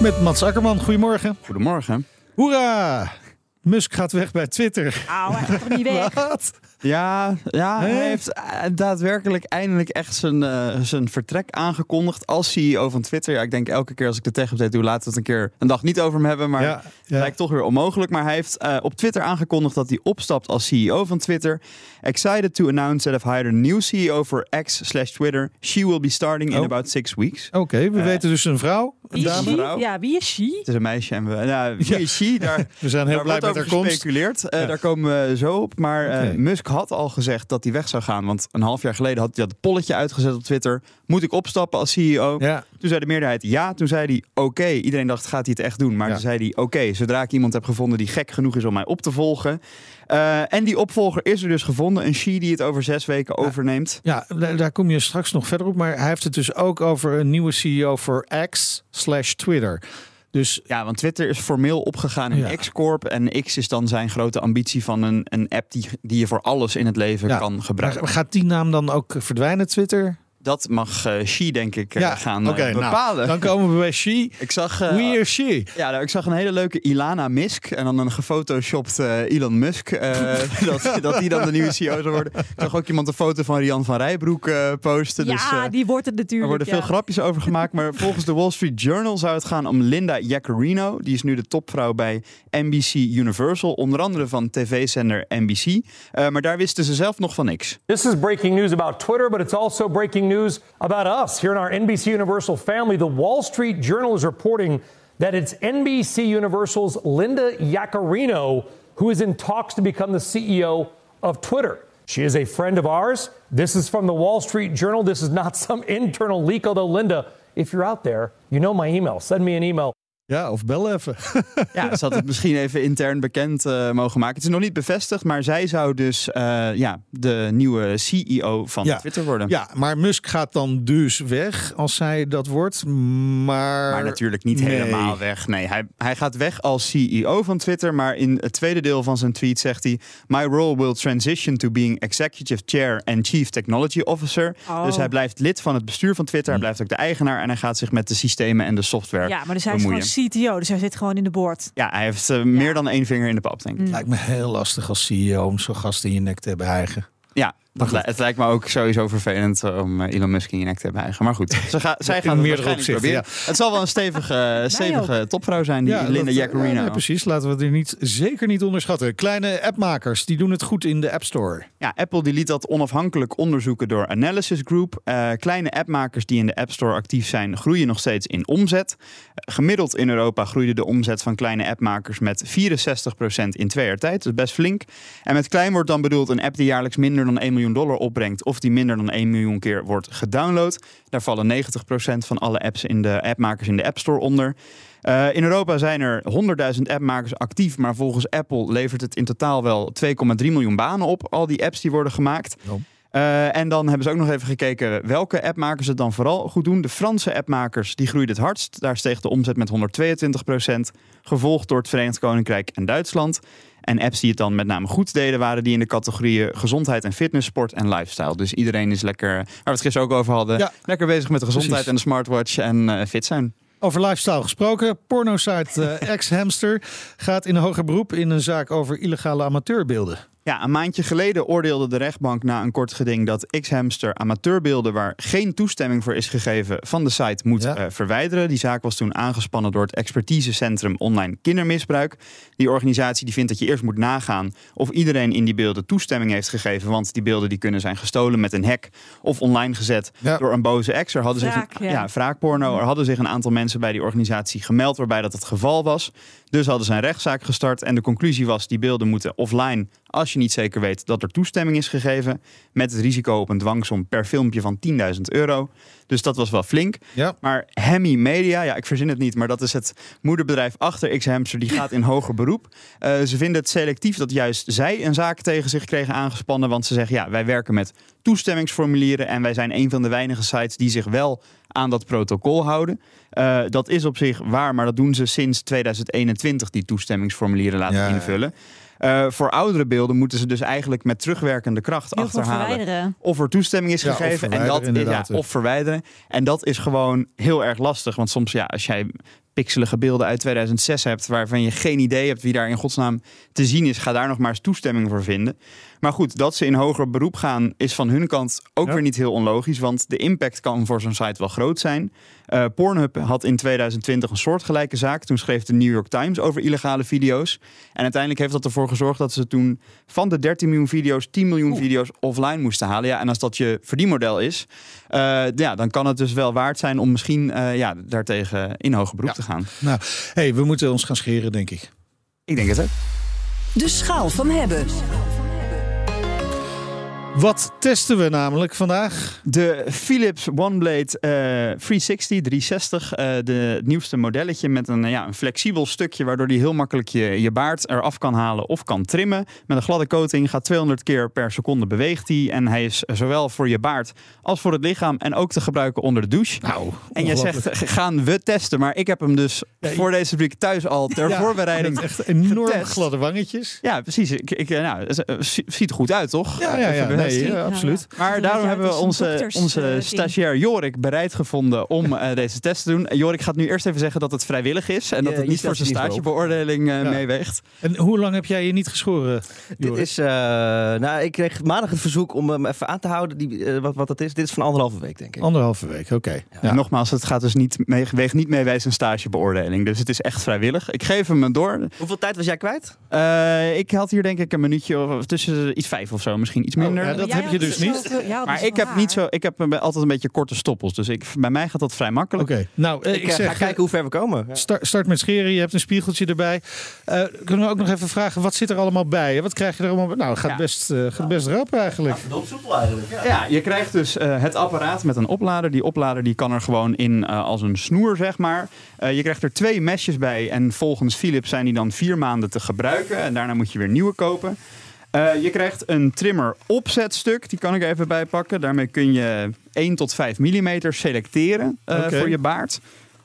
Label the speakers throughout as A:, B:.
A: Met Mats Akkerman, goedemorgen.
B: Goedemorgen.
A: Hoera! Musk gaat weg bij Twitter.
B: Ah.
C: Auw, hij gaat toch niet weg?
A: Wat?
B: Ja, ja
A: Hè?
B: hij heeft eh, daadwerkelijk eindelijk echt zijn, eh, zijn vertrek aangekondigd als CEO van Twitter. Ja, ik denk elke keer als ik de tech-update doe, laten we het een keer een dag niet over hem hebben. Maar
A: Ja, ja.
B: het lijkt toch weer onmogelijk. Maar hij heeft eh, op Twitter aangekondigd dat hij opstapt als CEO van Twitter. Excited to announce that I've hired a new CEO for X slash Twitter. She will be starting
A: Oh.
B: in about six weeks.
A: Oké, we
B: Eh.
A: weten dus een vrouw, een
C: Wie is
A: dame.
C: she?
B: Vrouw.
C: Ja, wie is she?
B: Het is een meisje en we... Nou, wie
A: Ja.
B: is she? Daar,
A: We zijn heel
B: daar
A: blij
B: wordt
A: met
B: over
A: haar komst.
B: gespeculeerd. Eh,
A: Ja.
B: Daar komen we zo op. Maar eh,
A: Oké.
B: Musk had al gezegd dat hij weg zou gaan. Want een half jaar geleden had hij dat polletje uitgezet op Twitter. Moet ik opstappen als CEO?
A: Ja,
B: Toen zei de meerderheid ja. Toen zei hij oké. Iedereen dacht, gaat hij het echt doen? Maar
A: Ja.
B: toen zei hij oké, zodra ik iemand heb gevonden die gek genoeg is om mij op te volgen. Eh, en die opvolger is er dus gevonden. Een she die het over zes weken overneemt.
A: ja daar daar kom je straks nog verder op. Maar hij heeft het dus ook over een nieuwe CEO voor X slash Twitter. Dus
B: Ja, want Twitter is formeel opgegaan in
A: Ja.
B: X-Corp. En X is dan zijn grote ambitie van een, een app die, die je voor alles in het leven
A: Ja.
B: kan
A: maar
B: gebruiken.
A: gaat die naam dan ook verdwijnen, Twitter?
B: Dat mag eh Xi, denk ik, eh, gaan eh,
A: oké, nou,
B: bepalen.
A: dan komen we bij she.
B: ik zag... eh,
A: We or she.
B: ja, nou, ik zag een hele leuke Ilana Musk en dan een gefotoshopt eh, Elon Musk. eh, dat, dat die dan de nieuwe CEO zou worden. Ik zag ook iemand een foto van Rian van Rijbroek eh, posten. dus, eh,
C: ja, die wordt het
B: er
C: natuurlijk.
B: worden
C: ja.
B: veel grapjes over gemaakt, maar volgens de Wall Street Journal zou het gaan om Linda Jaccarino. Die is nu de topvrouw bij NBC Universal, onder andere van tv-zender NBC. Eh, maar daar wisten ze zelf nog van niks.
D: This is breaking news about Twitter, but it's also breaking news about us here in our NBC Universal family. The Wall Street Journal is reporting that it's NBC Universal's Linda Yaccarino who is in talks to become the CEO of Twitter. She is a friend of ours. This is from the Wall Street Journal. This is not some internal leak, although, Linda, if you're out there, you know my email. Send me an email.
A: Ja, of bel even.
B: Ja, ze Dus had het misschien even intern bekend eh, mogen maken. Het is nog niet bevestigd, maar zij zou dus eh, ja, de nieuwe CEO van Twitter worden.
A: Ja, maar Musk gaat dan dus weg als zij dat wordt. Maar,
C: Eh,
B: Maar natuurlijk niet
A: Nee.
B: helemaal weg. Nee, hij, hij gaat weg als CEO van Twitter. Maar in het tweede deel van zijn tweet zegt hij: My role will transition to being executive chair and chief technology officer.
C: Oh. Hm.
B: Dus hij blijft lid van het bestuur van Twitter. Hij blijft ook de eigenaar en hij gaat zich met de systemen en de software
C: Ja, maar dus hij is
B: bemoeien.
C: gewoon CTO, dus hij zit gewoon in de board.
B: ja, hij heeft eh, meer dan één vinger in de pap, denk
C: Hm.
B: ik.
A: Lijkt me heel lastig als CEO om zo'n gast in je nek te hebben eigen.
B: Ja, dat li- het lijkt me ook sowieso vervelend eh, om eh, Elon Musk in je nek te hebben eigen. Maar goed, ze ga, zij gaan het
A: meerdere
B: waarschijnlijk
A: opzichten,
B: proberen. Het zal wel een stevige, stevige topvrouw zijn, die Linda
A: dat-
B: Jaccarino.
A: ja, nee, precies, laten we het niet, zeker niet onderschatten. Kleine appmakers, die doen het goed in de App Store.
B: Ja, Apple die liet dat onafhankelijk onderzoeken door Analysis Group. Eh, kleine appmakers die in de App Store actief zijn, groeien nog steeds in omzet. Eh, gemiddeld in Europa groeide de omzet van kleine appmakers met 64% in twee jaar tijd. Dat is best flink. En met klein wordt dan bedoeld een app die jaarlijks minder dan 1 miljoen dollar opbrengt of die minder dan 1 miljoen keer wordt gedownload. Daar vallen 90% van alle apps in de appmakers in de App Store onder. Eh, in Europa zijn er 100.000 appmakers actief, maar volgens Apple levert het in totaal wel 2,3 miljoen banen op, al die apps die worden gemaakt. Eh, en dan hebben ze ook nog even gekeken welke appmakers het dan vooral goed doen. De Franse appmakers die groeiden het hardst. Daar steeg de omzet met 122%, gevolgd door het Verenigd Koninkrijk en Duitsland. En apps die het dan met name goed deden, waren die in de categorieën gezondheid en fitness, sport en lifestyle. Dus iedereen is lekker, waar we het gisteren ook over hadden,
A: Ja.
B: lekker bezig met de gezondheid
A: Precies.
B: en de smartwatch en eh, fit zijn.
A: Over lifestyle gesproken, pornosite eh, Ex-Hamster gaat in hoger beroep in een zaak over illegale amateurbeelden.
B: Ja, een maandje geleden oordeelde de rechtbank na een kort geding dat X-Hamster amateurbeelden waar geen toestemming voor is gegeven van de site moet
A: Ja.
B: eh, verwijderen. Die zaak was toen aangespannen door het expertisecentrum online kindermisbruik. Die organisatie die vindt dat je eerst moet nagaan of iedereen in die beelden toestemming heeft gegeven, want die beelden die kunnen zijn gestolen met een hack of online gezet
A: Ja.
B: door een boze ex. Er hadden
C: Wraak,
B: zich een,
C: ja.
B: ja. wraakporno. Er hadden zich een aantal mensen bij die organisatie gemeld waarbij dat het geval was. Dus hadden ze een rechtszaak gestart en de conclusie was die beelden moeten offline als als je niet zeker weet dat er toestemming is gegeven. Met het risico op een dwangsom per filmpje van 10.000 euro. Dus dat was wel flink.
A: Ja.
B: Maar Hemi Media, ja, ik verzin het niet, maar dat is het moederbedrijf achter X-Hamster. Die gaat in hoger beroep. Eh, ze vinden het selectief dat juist zij een zaak tegen zich kregen aangespannen. Want ze zeggen, ja, wij werken met toestemmingsformulieren. En wij zijn een van de weinige sites die zich wel aan dat protocol houden. Eh, dat is op zich waar, maar dat doen ze sinds 2021, die toestemmingsformulieren laten
E: Ja, ja.
B: invullen. Eh, voor oudere beelden moeten ze dus eigenlijk met terugwerkende kracht
C: Heel veel
B: achterhalen
C: verwijderen.
B: of er toestemming is
A: Ja, of
B: gegeven en dat
A: verwijderen,
B: is, ja,
A: inderdaad.
B: of verwijderen. En dat is gewoon heel erg lastig. Want soms, ja, als jij pixelige beelden uit 2006 hebt waarvan je geen idee hebt wie daar in godsnaam te zien is, ga daar nog maar eens toestemming voor vinden. Maar goed, dat ze in hoger beroep gaan is van hun kant ook
A: Ja.
B: weer niet heel onlogisch, want de impact kan voor zo'n site wel groot zijn. Eh, Pornhub had in 2020 een soortgelijke zaak. Toen schreef de New York Times over illegale video's. En uiteindelijk heeft dat ervoor gezorgd dat ze toen van de 13 miljoen video's 10 miljoen video's offline moesten halen. Ja, en als dat je verdienmodel is, eh, ja, dan kan het dus wel waard zijn om misschien eh, ja, daartegen in hoger beroep te gaan.
A: Nou, hey, we moeten ons gaan scheren, denk ik.
B: Ik denk het ook.
F: De schaal van hebben.
A: Wat testen we namelijk vandaag?
B: De Philips OneBlade eh 360, 360 eh, de, het nieuwste modelletje met een, eh, ja, een flexibel stukje waardoor die heel makkelijk je, je baard eraf kan halen of kan trimmen. Met een gladde coating gaat 200 keer per seconde beweegt hij en hij is zowel voor je baard als voor het lichaam en ook te gebruiken onder de douche.
A: Nou,
B: en je zegt,
A: ongelooflijk.
B: gaan we testen, maar ik heb hem dus
A: ik-
B: voor deze rubriek thuis al ter
A: Ja,
B: voorbereiding
A: met Echt enorm
B: getest.
A: gladde wangetjes.
B: Ja, precies. Ik, ik, eh, nou, het, eh, zie- ziet er goed uit, toch?
A: Ja, ja, ja.
B: Even bevestigd.
A: Nee, ja, absoluut.
B: Maar
C: Een
B: daarom
C: beetje
B: hebben we
C: uit als een
B: onze,
C: dokters, eh,
B: onze
C: ding.
B: stagiair Jorik bereid gevonden om eh, deze test te doen. Eh, Jorik gaat nu eerst even zeggen dat het vrijwillig is en dat
G: Ja,
B: het
G: je
B: niet voor
G: staat
B: zijn
G: er niet
B: stagebeoordeling eh,
A: Ja.
B: meeweegt.
A: En hoe lang heb jij je niet geschoren?
G: Dit
A: Joris?
G: is, eh, nou, ik kreeg maandag het verzoek om hem even aan te houden, die, eh, wat, wat dat is. Dit is van anderhalve week, denk ik.
A: Anderhalve week, oké. Ja.
B: En nogmaals, het gaat dus niet mee, weegt niet mee bij zijn stagebeoordeling. Dus het is echt vrijwillig. Ik geef hem een door.
G: Hoeveel tijd was jij kwijt?
B: Eh, ik had hier denk ik een minuutje of tussen de- iets vijf of zo, misschien iets minder.
A: Oh, ja, dat
C: Jij
A: heb je
C: had
A: dus niet.
C: zoveel- jij had
B: Maar
C: dus
B: ik heb,
C: haar.
B: niet zo, ik heb een- altijd een beetje korte stoppels. Dus ik, bij mij gaat dat vrij
A: Oké,
B: makkelijk.
A: nou, eh,
G: Ik,
A: ik,
G: eh, ga
A: zeg,
G: kijken hoe ver we komen. Ja.
A: start, start met scheren, je hebt een spiegeltje erbij. Eh, kunnen we ook nog even vragen, wat zit er allemaal bij? Wat krijg je er allemaal bij? Nou, het gaat,
B: Ja.
A: best, eh, gaat best rap eigenlijk.
B: Ja, je krijgt dus eh, het apparaat met een oplader. Die oplader die kan er gewoon in eh, als een snoer, zeg maar. Eh, je krijgt er twee mesjes bij en volgens Philips zijn die dan vier maanden te gebruiken. En daarna moet je weer nieuwe kopen. Eh, je krijgt een trimmer opzetstuk, die kan ik er even bijpakken. Daarmee kun je 1 tot 5 mm selecteren eh,
A: Oké.
B: voor je baard.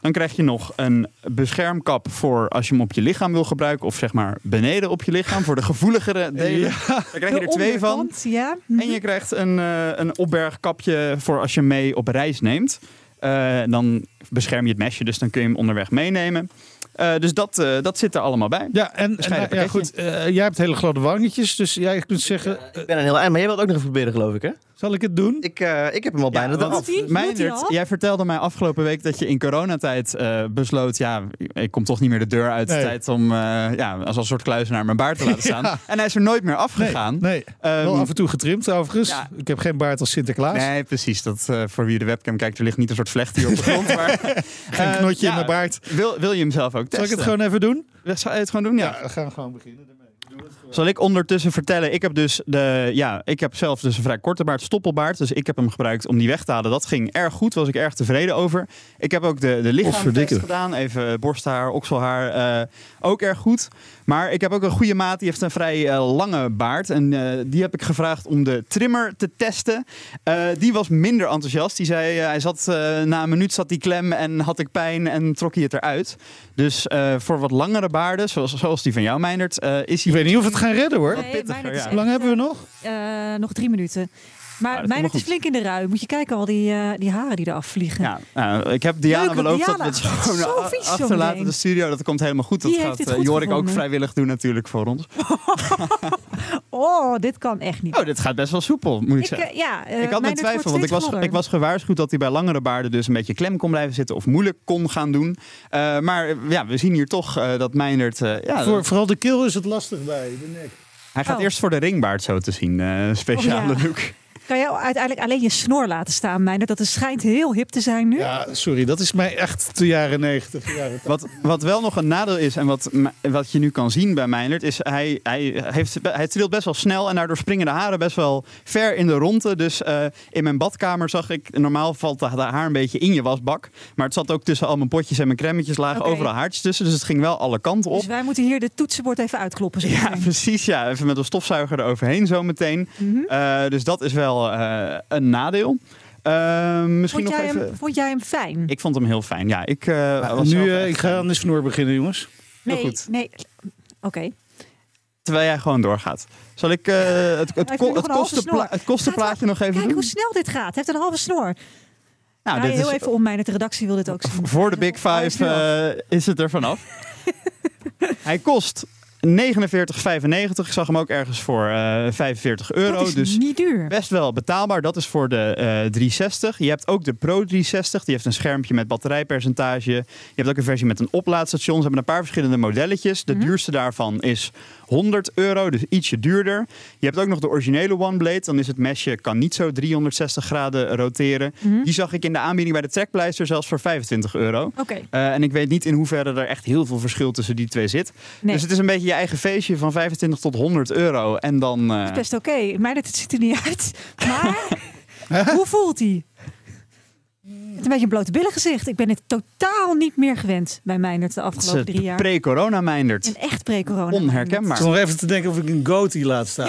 B: Dan krijg je nog een beschermkap voor als je hem op je lichaam wil gebruiken. Of zeg maar beneden op je lichaam, voor de gevoeligere delen. Daar krijg je
C: De
B: er twee van.
C: onderkant, Ja. Mhm.
B: En je krijgt een, eh, een opbergkapje voor als je mee op reis neemt. Eh, dan bescherm je het mesje, dus dan kun je hem onderweg meenemen. Eh, dus dat, eh, dat zit er allemaal bij.
A: Ja, en, en
B: Bescheiden
A: nou, ja, goed,
B: pakketje.
A: eh, jij hebt hele gladde wangetjes, dus jij kunt zeggen, eh,
G: Ik ben een heel eind, maar jij wilt ook nog even proberen, geloof ik, hè?
A: zal ik het doen?
G: Ik, eh, ik heb hem al bijna
B: want
G: eraf.
C: Doet hij? Doet hij
B: Meindert,
C: al?
B: jij vertelde mij afgelopen week dat je in coronatijd eh, besloot... ja, ik kom toch niet meer de deur uit.
A: Nee.
B: Tijd om eh, ja, als een soort kluizenaar mijn baard te laten staan.
A: Ja.
B: En hij is er nooit meer
A: nee,
B: afgegaan.
A: nee.
B: Ehm,
A: wel af en toe getrimd overigens.
B: ja.
A: Ik heb geen baard als Sinterklaas.
B: nee, precies. Dat, eh, voor wie de webcam kijkt, er ligt niet een soort vlecht hier op de grond. Maar,
A: Geen
B: eh,
A: knotje
B: ja,
A: in mijn baard.
B: Wil, wil je hem zelf ook testen?
A: Zal ik het gewoon even doen?
B: Zal je het gewoon doen? Ja.
A: we gaan gewoon beginnen.
B: Zal ik ondertussen vertellen, ik heb dus de, ja, ik heb zelf dus een vrij korte baard, stoppelbaard. Dus ik heb hem gebruikt om die weg te halen. Dat ging erg goed, was ik erg tevreden over. Ik heb ook de, de lichaamstest
G: verdikken.
B: gedaan, even eh, borsthaar, okselhaar, eh, ook erg goed. Maar ik heb ook een goede maat, die heeft een vrij eh, lange baard. En eh, die heb ik gevraagd om de trimmer te testen. Eh, die was minder enthousiast. Die zei, eh, hij zat, eh, na een minuut zat die klem en had ik pijn en trok hij het eruit. Dus eh, voor wat langere baarden, zoals, zoals die van jou, Meindert, eh, is
A: Ik
B: hij
A: weet niet of we het gaan redden hoor.
C: Nee,
B: pittiger,
C: Meindert
B: Oh,
C: is
B: ja.
C: echt,
A: Hoe lang hebben we nog?
C: eh, nog drie minuten. Maar
B: Ah, dat
C: mijn
B: komt wel
C: Meindert is
B: goed.
C: flink in de rui. Moet je kijken, al die, eh, die haren die eraf vliegen.
B: Ja, nou, ik heb Diana
C: Leuk,
B: beloofd
C: Diana. Oh,
B: dat we het gewoon
C: Zo
B: a-
C: vies, zo'n
B: achterlaten
C: ding.
B: de studio. Dat komt helemaal goed. Dat
C: Die heeft
B: gaat
C: dit
B: eh,
C: goed
B: Jorik ook
C: gevonden.
B: vrijwillig doen natuurlijk voor ons.
C: Oh, dit kan echt niet.
B: Oh, dit gaat best wel soepel, moet ik,
C: ik,
B: zeggen.
C: eh, ja, eh,
B: ik had mijn
C: Meindert
B: twijfel,
C: wordt
B: want ik
C: steeds
B: was,
C: gladder.
B: ik was gewaarschuwd dat hij bij langere baarden dus een beetje klem kon blijven zitten of moeilijk kon gaan doen. Eh, maar eh, ja, we zien hier toch eh, dat Meindert... eh, ja,
A: Voor, vooral de keel is het lastig bij, de nek.
B: hij gaat
C: Oh.
B: eerst voor de ringbaard zo te zien, eh, een speciale
C: Oh, ja.
B: look.
C: Kan jij uiteindelijk alleen je snor laten staan, Meijner? Dat het schijnt heel hip te zijn nu.
A: Ja, sorry, dat is mij echt de jaren negentig.
B: Wat, wat wel nog een nadeel is en wat, m- wat je nu kan zien bij Meijnerd... is hij, hij, heeft, hij trilt best wel snel en daardoor springen de haren best wel ver in de ronde. Dus eh, in mijn badkamer zag ik... Normaal valt de, de haar een beetje in je wasbak. Maar het zat ook tussen al mijn potjes en mijn cremmetjes lagen
C: Oké.
B: overal haartjes tussen. Dus het ging wel alle kanten op.
C: Dus wij moeten hier de toetsenbord even uitkloppen. zo
B: Ja,
C: meteen.
B: precies. Ja. Even met een stofzuiger eroverheen zo meteen.
C: Mhm.
B: Eh, dus dat is wel eh, een nadeel. Eh, misschien
C: vond,
B: nog
C: jij
B: even...
C: hem, vond jij hem fijn?
B: Ik vond hem heel fijn. Ja, ik eh, was
A: nu,
B: zelf
A: eh,
B: echt
A: ik ga
B: fan.
A: aan de snor beginnen, jongens.
C: nee,
B: goed.
C: nee. Oké.
B: Terwijl jij gewoon doorgaat. Zal ik eh, het, het,
C: Hij heeft
B: ko-
C: nu nog
B: het,
C: een halve
B: kostenpla-
C: snor.
B: het kostenplaatje
C: Gaat-
B: nog even
C: Kijk
B: doen?
C: hoe snel dit gaat. Hij heeft een halve snor.
B: Nou,
C: Ja,
B: dit
C: heel
B: is,
C: even om mij, de redactie wil dit ook zien.
B: voor de Big
C: Hij is
B: Five
C: nu af.
B: eh, is het er vanaf. Hij kost 49,95. Ik zag hem ook ergens voor eh 45 euro.
C: dat is
B: dus
C: niet duur.
B: Best wel betaalbaar. Dat is voor de eh, 360. Je hebt ook de Pro 360. Die heeft een schermpje met batterijpercentage. Je hebt ook een versie met een oplaadstation. Ze hebben een paar verschillende modelletjes.
C: Mhm.
B: De duurste daarvan is 100 euro, dus ietsje duurder. Je hebt ook nog de originele OneBlade. Dan is het mesje kan niet zo 360 graden roteren.
C: Mhm.
B: Die zag ik in de aanbieding bij de trekpleister zelfs voor 25 euro.
C: Oké.
B: Eh, en ik weet niet in hoeverre er echt heel veel verschil tussen die twee zit.
C: Nee.
B: Dus het is een beetje je eigen feestje van 25 tot 100 euro. En dan. eh,
C: Best oké. Mij dat het ziet er niet uit. Maar hoe voelt hij? Het is een beetje een blote billen gezicht. Ik ben het totaal niet meer gewend bij Meijnerd de
B: Het is
C: afgelopen
B: het
C: drie jaar.
B: Pre-corona mijndert.
C: een echt pre-corona.
A: Ik
B: Onherkenbaar.
A: zat nog even te denken of ik een goatee laat staan.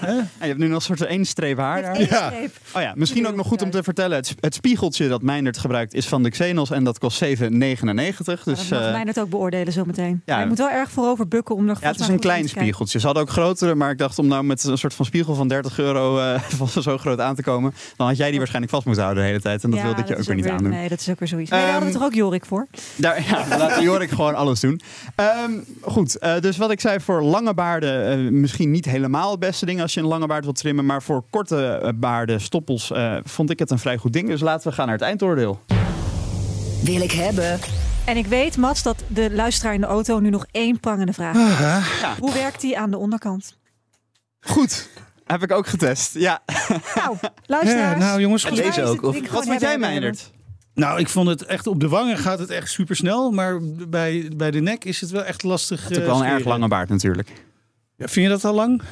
B: Ah, je hebt nu nog een soort één streep haar
C: Met
B: daar.
C: één
A: Ja.
C: streep.
B: Oh ja, misschien ook nog goed om te vertellen. Het, het spiegeltje dat Meindert gebruikt is van de Xenos en dat kost 7,99.
C: dat
B: Dus
C: mag
B: eh,
C: Meijnerd ook beoordelen zometeen.
B: ja.
C: Ja. Hij moet wel erg voorover bukken om nog
B: ja, het is een klein spiegeltje. Ze hadden ook grotere, maar ik dacht om nou met een soort van spiegel van 30 euro eh, van zo groot aan te komen. Dan had jij die waarschijnlijk vast moeten houden de hele tijd. En dat wilde ik je ook weer niet aandoen.
C: Nee, dat is ook weer zoiets. Nee, daar
B: Ehm,
C: hadden we toch ook Jorik voor?
B: Daar, ja, laat Jorik gewoon alles doen. Ehm, goed, eh, dus wat ik zei voor lange baarden, eh, misschien niet helemaal het beste ding als je een lange baard wilt trimmen. Maar voor korte eh, baarden, stoppels, eh, vond ik het een vrij goed ding. Dus laten we gaan naar het eindoordeel.
F: Wil ik hebben.
C: En ik weet, Mats, dat de luisteraar in de auto nu nog één prangende vraag heeft. Hoe werkt die aan de onderkant?
B: Goed, heb ik ook getest. Ja,
C: Nou, luisteraars.
A: Ja, nou, jongens,
C: volgens
G: deze
C: mij is
G: ook,
C: dit
G: of-
C: ding
B: wat
C: gewoon
B: vond jij,
C: hebben, hebben,
B: Meijnerd?
A: Nou, ik vond het echt op de wangen gaat het echt super snel. Maar bij, bij de nek is het wel echt lastig.
B: Het is ook
A: eh,
B: wel een erg
A: scheren.
B: lange baard natuurlijk.
A: Ja, vind je dat al lang?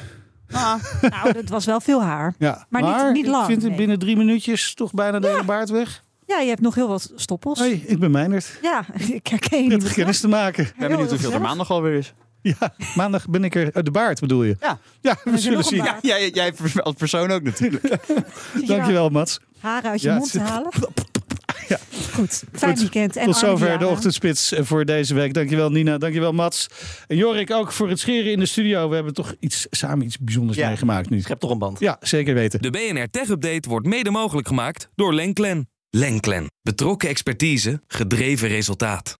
C: hebben. Nou, dat was wel veel haar.
A: Ja.
C: Maar niet- niet lang,
A: Ik vind het
C: nee.
A: binnen drie minuutjes toch bijna de hele baard weg.
C: Ja, je hebt nog heel wat stoppels.
A: Hoi, ik ben Meijnerd.
C: Ja, ik herken je niet.
A: Prettig kennis te maken.
B: Ik ben benieuwd hoeveel er
C: gezellig.
B: maandag alweer is.
A: Ja, maandag ben ik er. eh, de baard bedoel je?
B: Ja.
A: Ja, we
C: nog
A: zullen
C: een
A: zien.
C: baard.
B: jij, jij als persoon ook natuurlijk.
C: Zit je daar
A: Dankjewel, Mats.
C: Haren uit je
A: Ja,
C: mond te
A: het zit-
C: halen.
A: Ja.
C: Goed, fijn
A: Goed,
C: weekend. En
A: Tot
C: arme
A: zover de
C: Diana.
A: ochtendspits eh, voor deze week. Dankjewel Nina, dankjewel Mats. En Jorik ook voor het scheren in de studio. We hebben toch iets, samen iets bijzonders
B: Ja.
A: meegemaakt nu.
G: Schep toch een band.
A: Ja, zeker weten.
H: De BNR Tech Update wordt mede mogelijk gemaakt door Lenklen. Lenklen. Betrokken expertise, gedreven resultaat.